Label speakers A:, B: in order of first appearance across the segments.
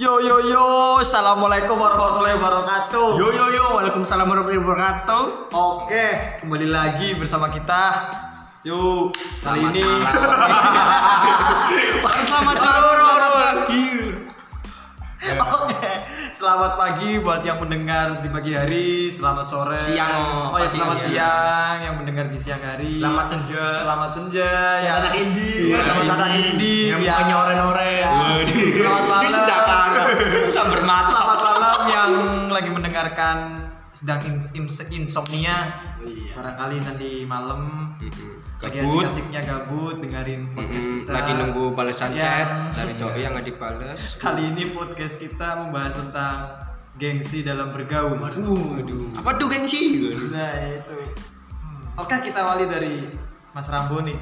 A: Yo yo yo, assalamualaikum warahmatullahi wabarakatuh.
B: Yo yo yo, waalaikumsalam warahmatullahi wabarakatuh.
A: Oke, kembali lagi bersama kita. Yuk, kali
C: Selamat
A: ini.
B: Selamat pagi.
A: Oke, selamat pagi buat yang mendengar di pagi hari, selamat sore,
C: Siang.
A: oh ya selamat
C: Pagi,
A: siang yang mendengar di siang hari,
B: Selamat senja.
A: selamat senja, ya
B: Anak
A: Iya,
B: indie.
A: anak-anak indie.
B: Yang
A: Iya.
B: mukanya oren-oren.
A: selamat
C: Ini
A: malam,
C: sedangkan sambil masak.
A: selamat malam yang lagi mendengarkan sedang ins- ins- insomnia, barangkali nanti malam lagi
C: Iya. Gabut.
A: asik-asiknya gabut dengerin podcast
C: Mm-mm,
A: kita, iya.
C: Lagi nunggu balasan chat
A: Yang-
C: dari doi yang nggak dibales.
A: Kali ini podcast kita membahas tentang gengsi dalam bergaul. Waduh.
C: Apa tuh gengsi?
A: Nah itu. Oke kita awali dari Mas Rambo nih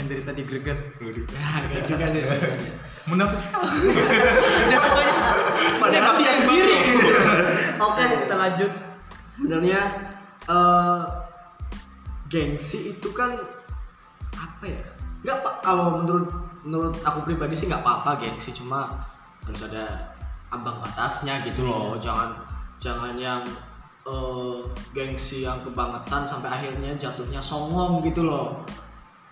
A: yang dari tadi greget. Nah,
B: Enggak juga sih. sebenarnya. Munafik sekali.
C: Padahal dia sendiri.
A: Oke kita lanjut.
D: sebenarnya eh, gengsi itu kan apa ya nggak pak kalau menurut menurut aku pribadi sih nggak apa-apa gengsi cuma harus ada ambang batasnya gitu loh
A: Iya.
D: jangan jangan yang eh, gengsi yang kebangetan sampai akhirnya jatuhnya songong gitu loh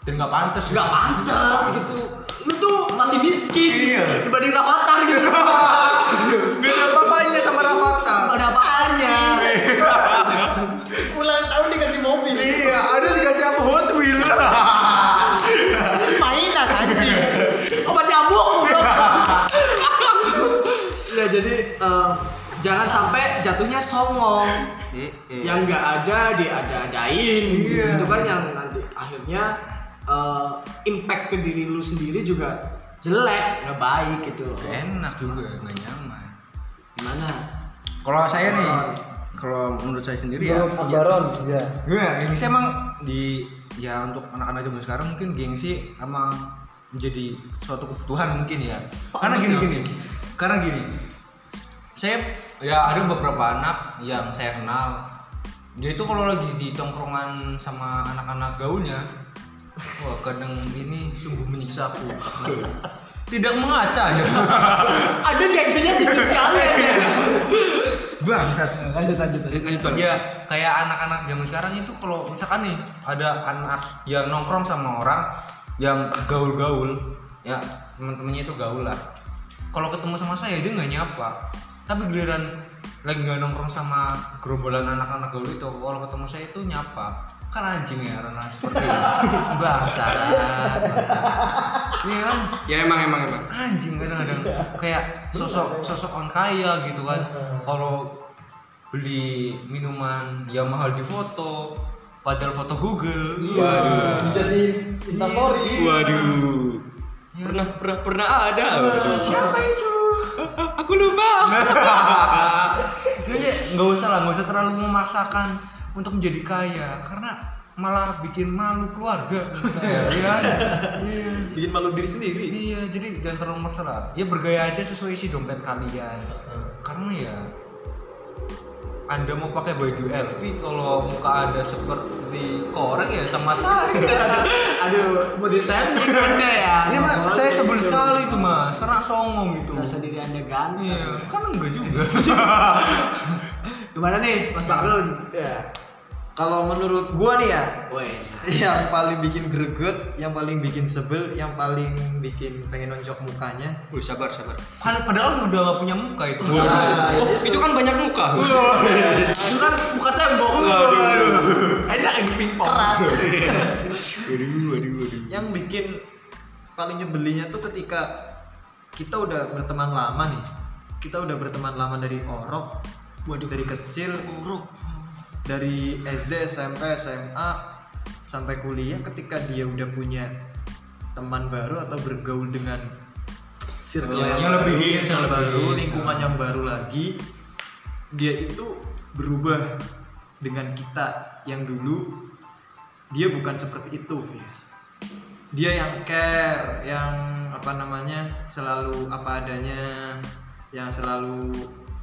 B: Dan enggak pantas.
D: nggak pantas gitu lu tuh masih miskin gitu dibanding Rafathar gitu
A: Gak Iya. ada apa-apanya sama Rafata.
D: Nggak ada apaannya ulang tahun dikasih mobil
A: Iya ada dikasih apa Hot Wheels.
D: mainan anjing obat nyamuk nah jadi eh, jangan sampai jatuhnya songong yang nggak ada diada-adain gitu. itu kan yang nanti akhirnya eh, impact ke diri lu sendiri juga jelek nggak baik gitu loh
B: Enak juga, enggak nyaman.
D: gimana
B: Kalau saya nih, kalau menurut saya sendiri
C: Iya.
B: ya.
A: ya.
B: Ya, gengsi emang di ya untuk anak-anak zaman sekarang mungkin gengsi emang menjadi suatu kebutuhan mungkin ya. Karena gini gini, karena gini, saya ya ada beberapa anak yang saya kenal dia itu kalau lagi di tongkrongan sama anak-anak gaulnya wah kadang ini sungguh menyiksa aku tidak mengaca ya
D: ada gengsinya tinggi sekali ya
B: bangsat
D: lanjut lanjut
C: Iya,
B: Ya kayak anak-anak zaman sekarang itu kalau misalkan nih ada anak yang nongkrong sama orang yang gaul-gaul, ya teman-temannya itu gaul lah. Kalau ketemu sama saya dia nggak nyapa, tapi giliran lagi nggak nongkrong sama gerombolan anak-anak gaul itu, kalau ketemu saya itu nyapa. Kan anjing ya orang seperti ini. Bangsa, bangsa. Ini kan
C: Ya emang emang emang.
B: anjing kadang-kadang kayak sosok sosok on kaya gitu kan kalau beli minuman yang mahal di foto padahal foto Google
A: Iya. Jadi instastory.
C: Waduh. Pernah pernah pernah ada.
D: Eh,
B: siapa itu
C: Aku lupa.
D: Nah,
B: Ini ya, nggak usah lah nggak usah terlalu memaksakan untuk menjadi kaya karena malah bikin malu keluarga menurut saya, ya kan? iya
A: Bikin malu diri sendiri.
B: Iya, jadi jangan terlalu memaksa lah. Ya bergaya aja sesuai isi dompet kalian. Karena ya anda mau pakai baju LV kalau muka Anda seperti korek ya sama saja.
D: aduh mau desain gimana ya
B: Iya, Mas. Saya sebel
D: Gitu.
B: sekali itu, Mas. Karena songong
A: Nah,
B: gitu.
D: merasa diri anda ganteng
B: Iya, kan enggak juga.
D: gimana nih mas Bakrun ya
A: Kalau menurut gua nih ya,
D: woi
A: yang paling bikin greget, yang paling bikin sebel, yang paling bikin pengen nonjok mukanya.
C: Wih sabar sabar.
B: Kan- Padahal udah gak punya muka itu.
A: Nah,
B: iya.
C: Oh,
A: itu-
C: itu kan banyak muka.
D: itu kan bukan tembok
B: Enak ini pingpong.
A: keras.
C: Waduh waduh waduh.
A: yang bikin paling nyebelinya tuh ketika kita udah berteman lama nih kita udah berteman lama dari orok dari kecil orok dari SD SMP SMA sampai kuliah ketika dia udah punya teman baru atau bergaul dengan circle
B: Yang lebih hits, yang lebih
A: baru
B: hits.
A: lingkungan yang baru lagi dia itu berubah dengan kita yang dulu dia bukan seperti itu dia yang care yang apa namanya selalu apa adanya yang selalu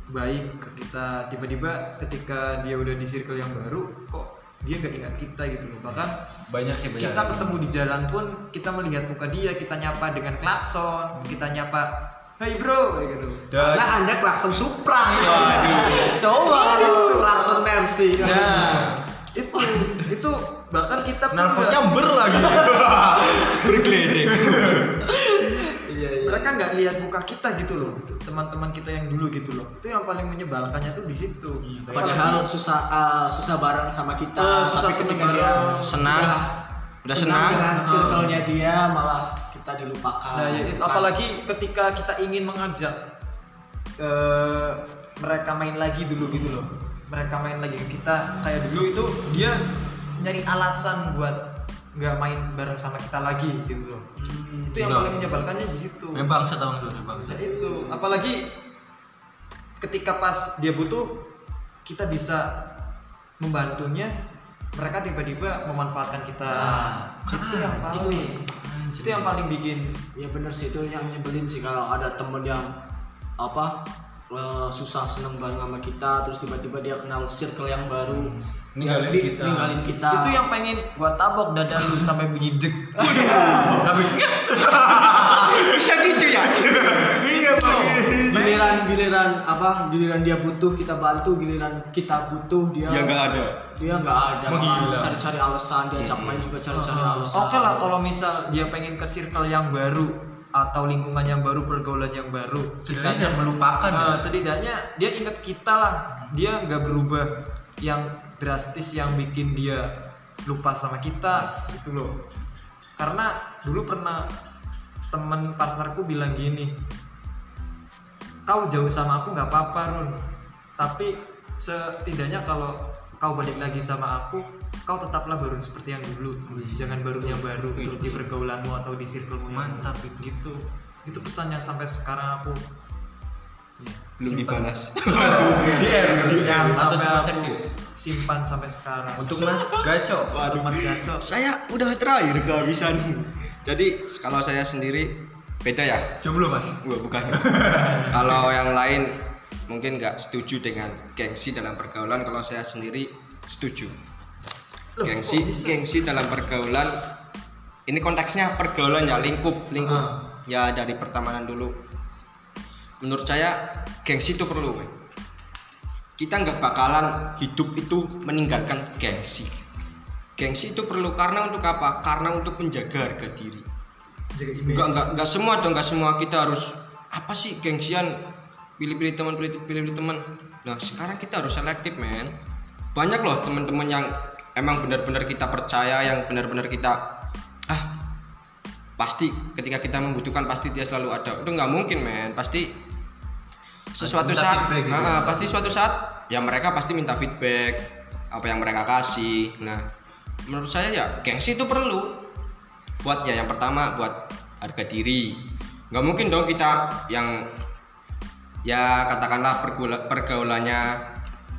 A: baik ke kita tiba-tiba ketika dia udah di circle yang baru kok dia nggak ingat kita gitu loh bahkan
B: Banyak sih banyak.
A: kita ketemu di jalan pun kita melihat muka dia kita nyapa dengan klakson kita nyapa hey bro kayak gitu
B: Hmm. Dan-
D: Karena anda klakson Supra.
B: Waduh.
D: Coba lu klakson Mercy.
B: Nah,
A: itu itu bahkan kita pun
B: nelponnya
A: nggak-
B: ber lagi.
C: bergeledek
D: Iya iya.
A: mereka nggak lihat muka kita gitu loh teman-teman kita yang dulu gitu loh itu yang paling menyebalkannya tuh di situ
D: Iya, Padahal susah eh, susah bareng sama kita.
A: Eh, susah
D: tapi ketika
A: seneng
D: dia
A: bareng. Iya.
B: Senang.
D: udah-
B: Udah senang.
D: dengan
A: Heeh.
D: circle-nya dia malah kita dilupakan. kan.
A: Nah, ya itu
D: Bukan-
A: apalagi ketika kita ingin mengajak eh, mereka main lagi dulu gitu loh. Mereka main lagi ke kita kayak dulu itu dia nyari alasan buat nggak main bareng sama kita lagi gitu loh. itu yang
D: Iya.
B: Nah.
A: paling menyebalkannya di situ.
B: Ya bangsa tahun itu, ya bangsa.
A: Nah, itu apalagi ketika pas dia butuh kita bisa membantunya mereka tiba-tiba memanfaatkan kita
D: Ah,
A: itu
B: keren.
A: yang
D: Itu
A: paling
B: Anjir.
A: itu yang paling bikin
D: Ya bener sih itu yang nyebelin sih kalau ada temen yang apa eh, susah seneng bareng sama kita terus tiba-tiba dia kenal circle yang baru
B: Ninggalin
D: Di-
C: Iya.
B: kita.
D: ninggalin kita
A: Itu yang pengen gua tabok dada lu sampai bunyi deg.
B: Tapi
C: bisa gitu ya
A: iya, Bang.
D: Gitu. giliran giliran apa giliran dia butuh kita bantu giliran kita butuh dia
C: ya nggak ada
D: dia nggak ada
B: Menghilangkan.
D: malah cari-cari alasan dia cap main juga cari-cari alasan
A: Oke lah kalau misal dia pengen ke circle yang baru atau lingkungan yang baru, pergaulan yang baru,
B: kita jangan melupakan.
A: Eh,
B: ya.
A: setidaknya dia ingat kita lah. Dia nggak berubah yang drastis yang bikin dia lupa sama kita gitu loh. Karena dulu pernah temen partnerku bilang gini, kau jauh sama aku nggak apa-apa Run, tapi setidaknya kalau kau balik lagi sama aku, kau tetaplah barun seperti yang dulu.
B: Wih.
A: Jangan barun yang baru gitu, di pergaulanmu atau di circlemu yang
B: Mantap
A: baru.
B: itu.
A: gitu. Itu pesan yang sampai sekarang aku
C: belum dibalas
B: DM,
A: DM
B: atau
A: sampai
B: cuma
A: aku
B: checklist.
A: simpan sampai sekarang
B: Untuk Mas Gaco.
A: Untuk Mas Gaco
C: saya udah terakhir kehabisan jadi kalau saya sendiri beda ya
B: Jomblo Mas.
C: Wah, bukan kalau yang lain mungkin nggak setuju dengan gengsi dalam pergaulan kalau saya sendiri setuju gengsi gengsi dalam pergaulan ini konteksnya pergaulan ya lingkup lingkup ya dari pertemanan dulu menurut saya gengsi itu perlu men. kita nggak bakalan hidup itu meninggalkan gengsi gengsi itu perlu karena untuk apa karena untuk menjaga harga diri
A: jaga
C: Enggak, enggak, enggak semua dong, enggak semua kita harus apa sih gengsian pilih-pilih teman, pilih- pilih-pilih teman. Nah, sekarang kita harus selektif, men. Banyak loh teman-teman yang emang benar-benar kita percaya, yang benar-benar kita ah pasti ketika kita membutuhkan pasti dia selalu ada. Itu nggak mungkin, men. Pasti sesuatu
B: Minta
C: saat,
B: feedback gitu.
C: Ah, ah, pasti suatu saat ya mereka pasti minta feedback apa yang mereka kasih. Nah, menurut saya ya gengsi itu perlu buat ya yang pertama buat harga diri nggak mungkin dong kita yang ya katakanlah pergula- pergaulannya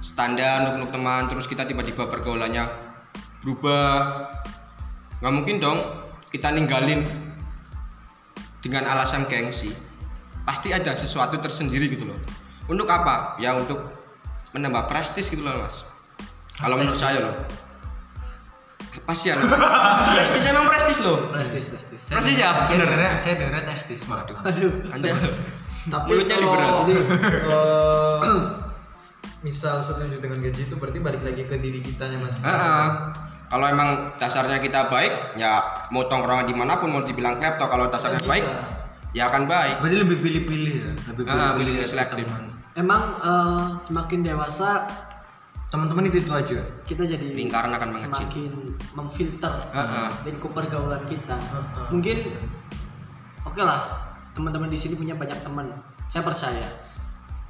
C: standar untuk, untuk teman terus kita tiba-tiba pergaulannya berubah nggak mungkin dong kita ninggalin dengan alasan gengsi pasti ada sesuatu tersendiri gitu loh untuk apa ya untuk menambah prestis gitu loh mas kalau menurut saya loh apa sih anak prestis emang prestis loh
D: prestis prestis
C: Persis ya?
D: Iya.
B: Saya dengernya, saya dengernya testis waduh.
D: aduh
C: Anda
D: tapi
C: Mulutnya liberal.
D: kalau jadi
A: Eh, misal setuju dengan gaji itu berarti balik lagi ke diri kita yang masing
C: Ah, Kalau emang dasarnya kita baik, ya mau tongkrongan dimanapun mau dibilang klepto kalau dasarnya
A: Bisa.
C: baik, ya akan baik.
B: Berarti lebih pilih-pilih ya, lebih
C: Ah,
B: pilih-pilih
C: pilih-pilih
B: ya,
C: selektif.
B: teman.
D: emang eh, semakin dewasa
B: Teman-teman itu itu aja.
D: kita jadi
C: Lingkaran akan mengecil.
D: semakin memfilter
C: Heeh.
D: lingkup pergaulan kita.
A: Heeh.
D: Mungkin oke lah, teman-teman di sini punya banyak teman. Saya percaya.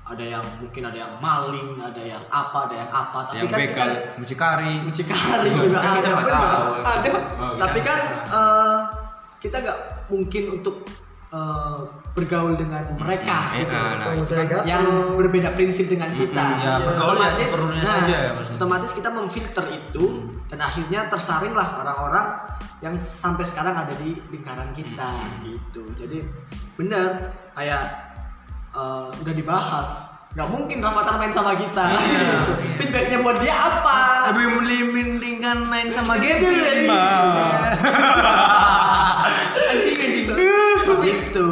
D: Ada yang mungkin ada yang maling, ada yang apa, ada yang apa, tapi
C: Yang
D: kan
C: begal.
D: kita
B: Mucikari.
D: mucikari
B: Kan
D: juga ada.
B: kita nggak tahu.
D: Ada.
B: Oh,
D: tapi
B: bercanda.
D: kan eh, kita nggak mungkin untuk eh, bergaul dengan mereka
C: Iya,
D: gitu.
C: nah,
A: Kalau
C: itu
A: saya
C: kan-
A: gatel.
D: yang berbeda prinsip dengan kita. Iya. nah,
B: ya, bergaul ya seperlunya saja ya maksudnya.
D: Otomatis kita memfilter itu dan akhirnya tersaringlah orang-orang yang sampai sekarang ada di lingkaran kita gitu. Jadi benar kayak eh, udah dibahas nggak mungkin Rafathar main sama kita
B: Iya.
D: gitu. feedbacknya buat dia apa
B: Lebih melindingkan lain sama
D: Gitu,
B: Gabriel.
D: gitu.
B: Anjing anjing.
D: Tapi itu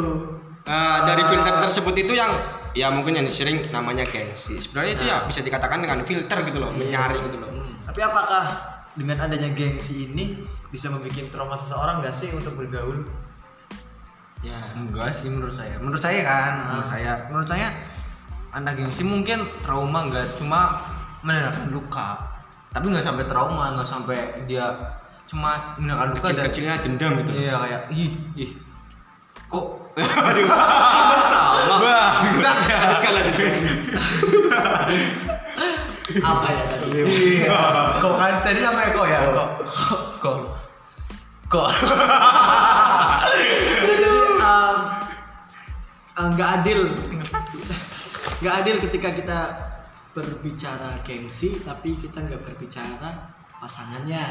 C: Ah, dari filter
D: Eh,
C: disebut itu yang ya mungkin yang sering namanya gengsi. Sebenarnya itu ya bisa dikatakan dengan filter gitu loh, menyaring gitu loh.
A: Tapi apakah dengan adanya gengsi ini bisa membuat trauma seseorang gak sih untuk bergaul?
D: ya
B: Enggak sih menurut saya. Menurut saya kan, menurut saya. Menurut saya anak gengsi mungkin trauma enggak cuma menandakan luka. Tapi enggak sampai trauma, enggak sampai dia cuma menandakan luka dan
C: Kecil-kecilnya dendam gitu.
B: Iya kayak ih ih. Kok
C: Aduh, sama.
B: bangsat ya?
D: apa ya tadi
B: Iya. Kok kan tadi namanya kok ya? Kok kok kok
D: jadi um, um, nggak adil nggak adil ketika kita berbicara gengsi tapi kita nggak berbicara pasangannya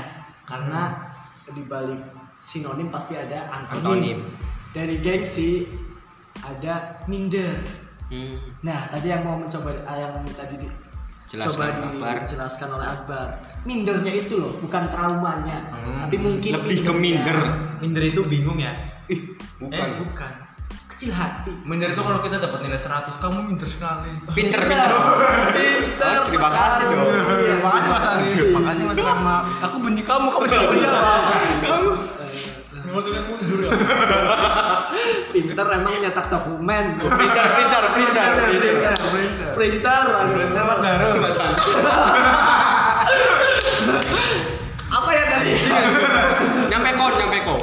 D: karena di balik sinonim pasti ada antonim,
C: Hmm. Antonim.
D: dari gengsi ada minder
C: Hmm.
D: nah tadi yang mau mencoba eh, yang tadi di,
C: Jelaskan,
D: coba
C: Akbar.
D: dijelaskan oleh Akbar mindernya itu loh bukan traumanya
B: Hmm,
D: tapi mungkin
C: Lebih ke minder.
D: mindernya.
A: Minder itu bingung ya.
C: Ih,
D: eh
C: bukan.
D: bukan kecil hati
B: Minder itu kalau kita dapat nilai 100 kamu minder sekali.
C: Pinter, pinter.
D: Pinter
C: Mas, terima kasih
D: sekali.
C: dong.
D: Iya,
B: Terima kasih Mas Ari. Terima kasih Mas Rama. Aku benci kamu, kamu tidak benci aku. Kamu nomor tulen mundur ya.
D: Pinter emang nyetak dokumen.
C: Pinter, pinter, pinter. pinter.
D: Printer. Printer Mas Baru. Apa ya tadi?
C: Nyampe kok, nyampe kok.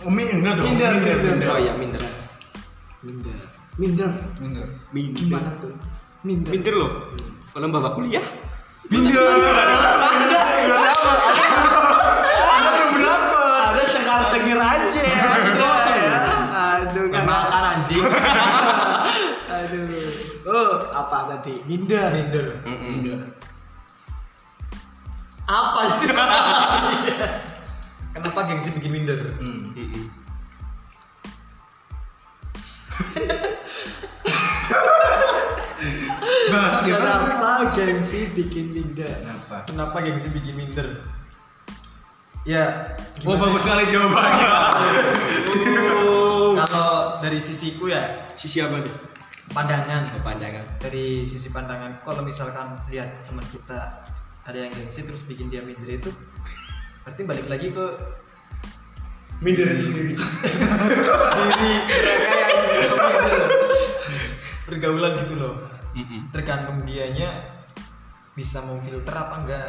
B: Umi enggak dong.
D: Minder,
B: Minder,
D: minder.
C: Oh iya, minder.
D: Minder. Minder.
B: Minder.
D: Gimana tuh? Minder.
C: Minder loh. Kalau mbak kuliah,
D: Ada berapa? Ada cengar-cengir aja. Ya. Aduh, nggak
A: Makan anjing.
D: Aduh. Oh, apa tadi? Minder.
B: Minder.
C: Mm-mm.
B: Minder.
D: Apa itu?
A: Kenapa gengsi bikin minder?
B: Hmm.
A: Bahasa dia bahasa.
D: Kenapa gengsi bikin minder?
B: Kenapa?
A: Kenapa gengsi bikin minder? Ya,
B: Oh
A: gimana?
B: bagus sekali jawabannya.
A: Kalau dari sisiku ya,
C: sisi apa nih?
A: Oh, pandangan
C: Pandangan.
A: dari sisi pandangan kalau misalkan lihat teman kita ada yang gengsi terus bikin dia minder itu berarti balik lagi ke
B: Minder itu sendiri.
A: diri mereka yang di situ minder. pergaulan gitu loh
C: Mm-mm.
A: tergantung dianya bisa memfilter apa enggak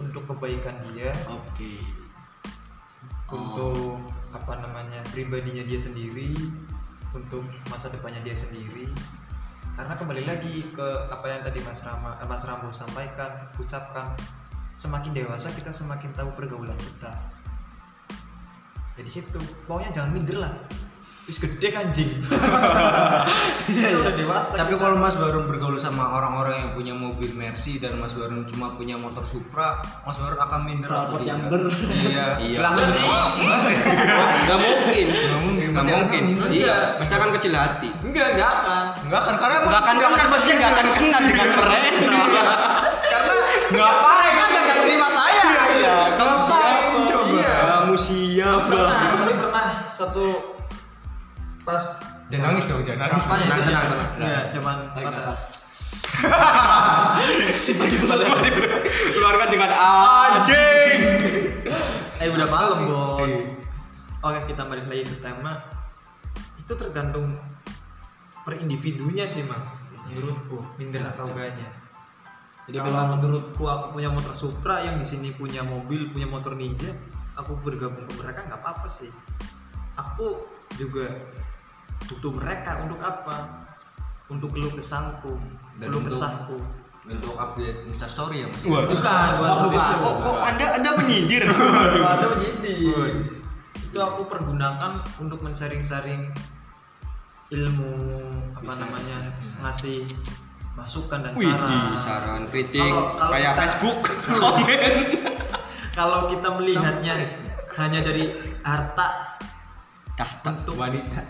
A: untuk kebaikan dia
D: Oke.
A: untuk apa namanya pribadinya dia sendiri untuk masa depannya dia sendiri karena kembali lagi ke apa yang tadi Mas Rama eh, Mas Rambo sampaikan ucapkan semakin dewasa kita semakin tahu pergaulan kita jadi situ pokoknya jangan minder lah terus gede kan anjing Kita udah dewasa
B: Iya,
A: kita.
B: Tapi kalau Mas Barun bergaul sama orang-orang yang punya mobil Mercy dan Mas Barun cuma punya motor Supra, Mas Barun akan minder atau
D: Rapot
B: tidak?
D: yang ber.
B: Iya.
C: Iya.
B: Langsung sih.
C: Gak mungkin.
B: Nggak
C: Nggak
B: mungkin. Pasti akan
C: mungkin.
B: minder.
C: Iya, pasti akan kecil hati.
A: enggak enggak akan
B: Enggak kan karena
C: Gak akan kena, pasti gak akan kena dengan mereka.
B: Enggak apa mereka enggak terima saya. Iya. Ngapain coba?
A: Iya.
C: Kamu siapa?
A: pernah Nah, kemarin pernah satu pas
B: Jangan nangis dong, jangan nangis.
A: Kapan ya?
C: Tenang, tenang, tenang.
A: Iya, cuman
D: Tarik
A: kata-
D: nafas.
C: Keluarkan dengan anjing.
A: Eh udah malam bos. Oke kita balik lagi ke tema. Itu tergantung per individunya sih mas. Menurutku minder atau enggaknya. Iya, Jadi kalau menurutku aku punya motor Supra yang di sini punya mobil punya motor Ninja, aku bergabung ke mereka nggak apa-apa sih. Aku juga butuh mereka untuk apa? Untuk keluh kesangku,
B: Dan
A: keluh
B: untuk-
A: kesahku.
B: Untuk update Insta story ya Mas.
C: Waduh.
A: Bukan,
D: Waduh,
A: bukan.
D: Pak.
A: Oh,
C: Oh, oh, anda anda menyindir.
A: Kalau ada menyindir. Itu aku pergunakan untuk mensaring-saring ilmu apa
B: Bisa,
A: namanya
B: bisa, bisa.
A: ngasih masukan dan
C: Wih,
A: saran.
C: saran kritik
A: Kalau- kalau
C: kayak
A: kita-
C: Facebook komen.
A: Kalau kita melihatnya
B: Sama guys.
A: hanya dari harta
C: Tahta.
A: bentuk
B: Wanita.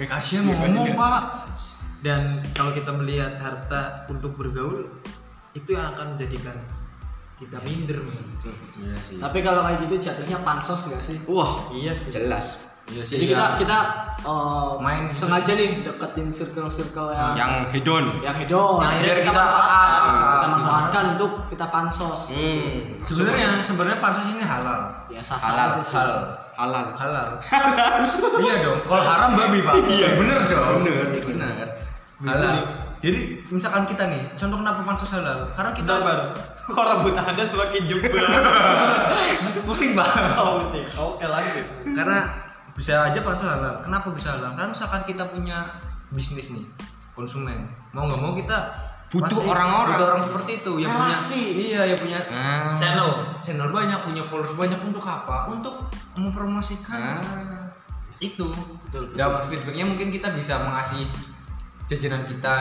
B: Eh kasihan mau ngomong,
C: Iya.
B: Pak.
A: dan kalau kita melihat harta untuk bergaul itu yang akan menjadikan
C: Ya.
A: kita minder. men.
B: Iya sih.
D: Tapi kalau kayak gitu jatuhnya pansos nggak sih?
C: Wah,
A: Iya sih.
C: jelas.
B: Iya sih,
D: Jadi
B: iya.
D: kita kita eh,
B: Main gitu.
D: sengaja nih deketin circle-circle yang
A: Ah.
C: yang hedon
D: yang
B: Iya. Yang
D: hedon.
B: Ah.
D: Akhirnya
B: hedon
D: kita
B: kita
D: manfaatkan,
B: manfaatkan.
D: kita manfaatkan untuk kita pansos.
C: hmm.
B: Sebenarnya sebenarnya pansos ini halal.
D: Ya sah
C: Halal,
D: sah aja sih.
B: Halal.
C: halal
B: Halal. iya dong. Kalau haram babi pak. Iya. Bener dong.
C: Bener.
B: Bener. Halal. Jadi misalkan kita nih, contoh kenapa pansos halal? Karena kita
A: Bentar, Bar. Kok rambut anda semakin jebol?
B: pusing pak.
A: oh, sih. Oke, lanjut.
B: karena bisa aja pansos halal kenapa bisa halal karena misalkan kita punya bisnis nih konsumen mau nggak mau kita
C: Butuh
B: pasti
C: orang-orang.
B: butuh orang seperti itu yang
D: Relasi.
B: punya iya yang punya
C: Ah.
B: channel channel banyak punya followers banyak untuk apa untuk mempromosikan
C: Ah.
B: itu
D: Betul, betul.
B: dan Ya, feedbacknya mungkin kita bisa mengasih jajanan kita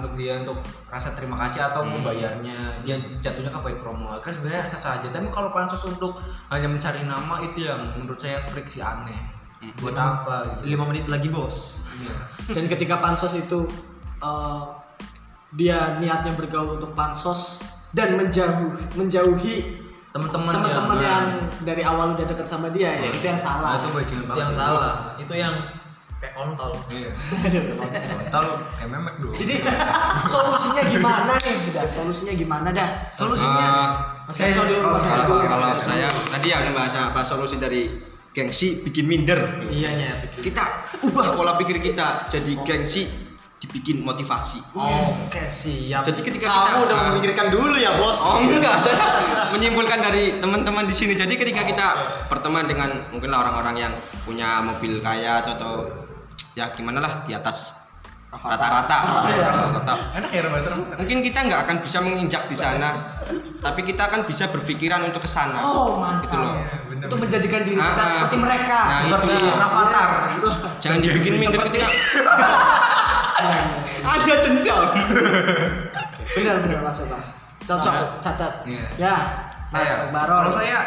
B: untuk dia untuk rasa terima kasih atau membayarnya dia jatuhnya ke baik promo kan sebenarnya sah sah aja tapi kalau pansos untuk hanya mencari nama itu yang menurut saya friksi aneh buat apa gitu.
A: 5 menit lagi, Bos.
B: Iya.
D: Dan ketika pansos itu eh, dia niatnya bergaul untuk pansos dan menjauh menjauhi
B: teman-teman
D: teman-teman
B: yang,
D: yang dari awal udah deket sama dia
C: Iya.
D: ya itu yang
B: Nah,
D: salah.
B: itu
A: Itu
B: bajingan
C: ya.
B: banget
A: yang salah. Itu yang kayak kontol.
B: iya
D: Aduh.
B: tahu kayak memek dulu
D: Jadi solusinya gimana nih? Dah, solusinya gimana dah? Solusinya.
C: Ah,
D: Mas Kenzo dulu, Mas
C: kalau,
D: Kenzo.
C: kalau saya tadi yang bahasa bahasa solusi dari gengsi bikin minder
A: Iya, Oh. Nya.
C: kita ubah pola pikir kita jadi gengsi dibikin motivasi
A: Oke, siap.
C: Jadi ketika
A: kamu
C: kita-
A: udah
C: Ah.
A: memikirkan dulu ya, Bos.
C: Oh enggak, saya menyimpulkan dari teman-teman di sini. Jadi ketika kita berteman dengan mungkinlah orang-orang yang punya mobil kaya atau, atau ya gimana lah di atas rata-rata. Rata-rata.
B: enak ya rumah serem
C: Mungkin kita nggak akan bisa menginjak di sana, tapi kita akan bisa berpikiran untuk ke sana.
D: Oh, mantap.
C: Gitu loh.
D: Untuk menjadikan diri kita
C: Ah, ah.
D: seperti mereka,
C: Nah,
D: seperti
C: itu dia.
D: Rafathar.
C: Jangan dibikin minder ketika ada dendam.
D: Benar benar Mas Eba. Cocok, catat.
B: Iya.
D: Ya.
B: saya
D: Mas Barol.
B: kalau saya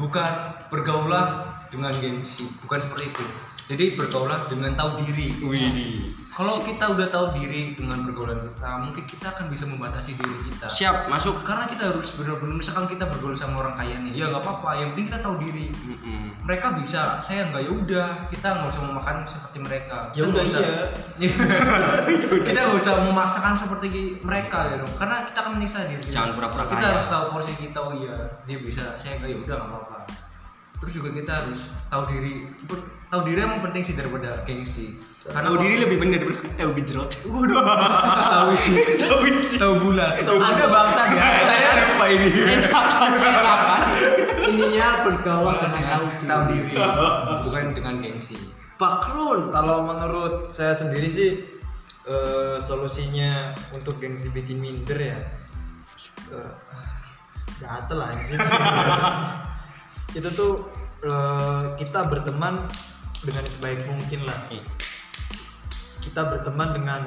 B: bukan bergaulah dengan gengsi bukan seperti itu jadi bergaulah dengan tahu diri
C: Wih.
B: kalau kita udah tahu diri dengan pergaulan kita mungkin kita akan bisa membatasi diri kita
C: Siap masuk.
B: karena kita harus benar-benar misalkan kita bergaul sama orang kaya nih ya nggak apa-apa yang penting kita tahu diri
C: Mm-mm.
B: mereka bisa saya nggak ya udah kita nggak usah memakan seperti mereka
A: Ya
B: Kita
A: udah,
B: nggak usah- kita nggak usah memaksakan seperti ki- mereka gitu karena kita akan menyiksa diri kita.
C: Jangan pura-pura
B: kita
C: kaya.
B: harus tahu porsi kita oh iya dia bisa saya nggak ya udah nggak apa-apa terus juga kita harus tahu diri tahu diri emang penting sih daripada gengsi karena
C: Tahu
B: kalau-
C: diri lebih benar daripada tahu bijrot.
B: tahu isi
C: Tahu isi.
B: tahu bulat
A: Ada bangsa ya.
B: saya lupa ini
D: ininya bergaul dengan tahu
B: tahu diri bukan dengan gengsi
D: Baklun.
A: Kalau menurut saya sendiri sih eh, solusinya untuk gengsi bikin minder ya eh, gatel anjing. Itu tuh eh, kita berteman dengan sebaik mungkin lah. Kita berteman dengan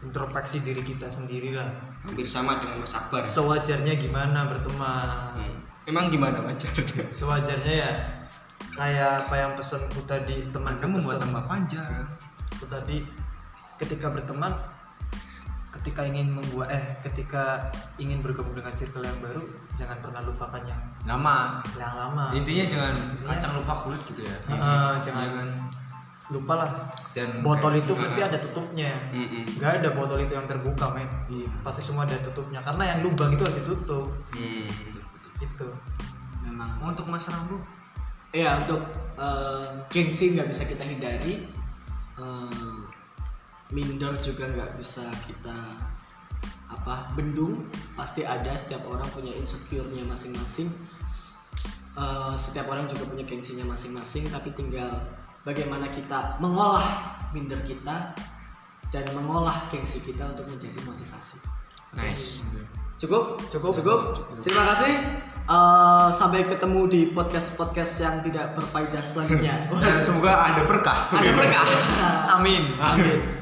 A: introspeksi diri kita sendiri lah.
C: Hampir sama dengan Mas Akbar.
A: Sewajarnya gimana berteman.
C: Emang gimana wajar?
A: Sewajarnya ya kayak apa yang pesanku tadi teman
B: kamu membuat
A: pesan.
B: tambah panjang
A: itu tadi ketika berteman ketika ingin membuat eh ketika ingin bergabung dengan circle yang baru jangan pernah lupakan yang
B: nama
A: yang lama
B: intinya jangan kacang lupa kulit gitu ya
A: Heeh, jangan lupa lah
B: dan
A: botol itu pasti ada tutupnya
C: Mm-mm.
A: nggak ada botol itu yang terbuka men
B: Iya.
A: pasti semua ada tutupnya karena yang lubang itu harus ditutup
C: Hmm.
A: itu
D: Memang.
B: untuk mas Rambu
D: Ya untuk eh, gengsi nggak bisa kita hindari, Eh, minder juga nggak bisa kita apa bendung. Pasti ada setiap orang punya insecure-nya masing-masing. Eh, setiap orang juga punya gengsinya masing-masing, tapi tinggal bagaimana kita mengolah minder kita dan mengolah gengsi kita untuk menjadi motivasi.
C: Nice.
D: Cukup, cukup, cukup. Terima kasih. Eh, sampai ketemu di podcast-podcast yang tidak berfaedah selanjutnya.
A: dan Nah, semoga ada berkah
D: Ada berkah.
A: amin
D: Amin.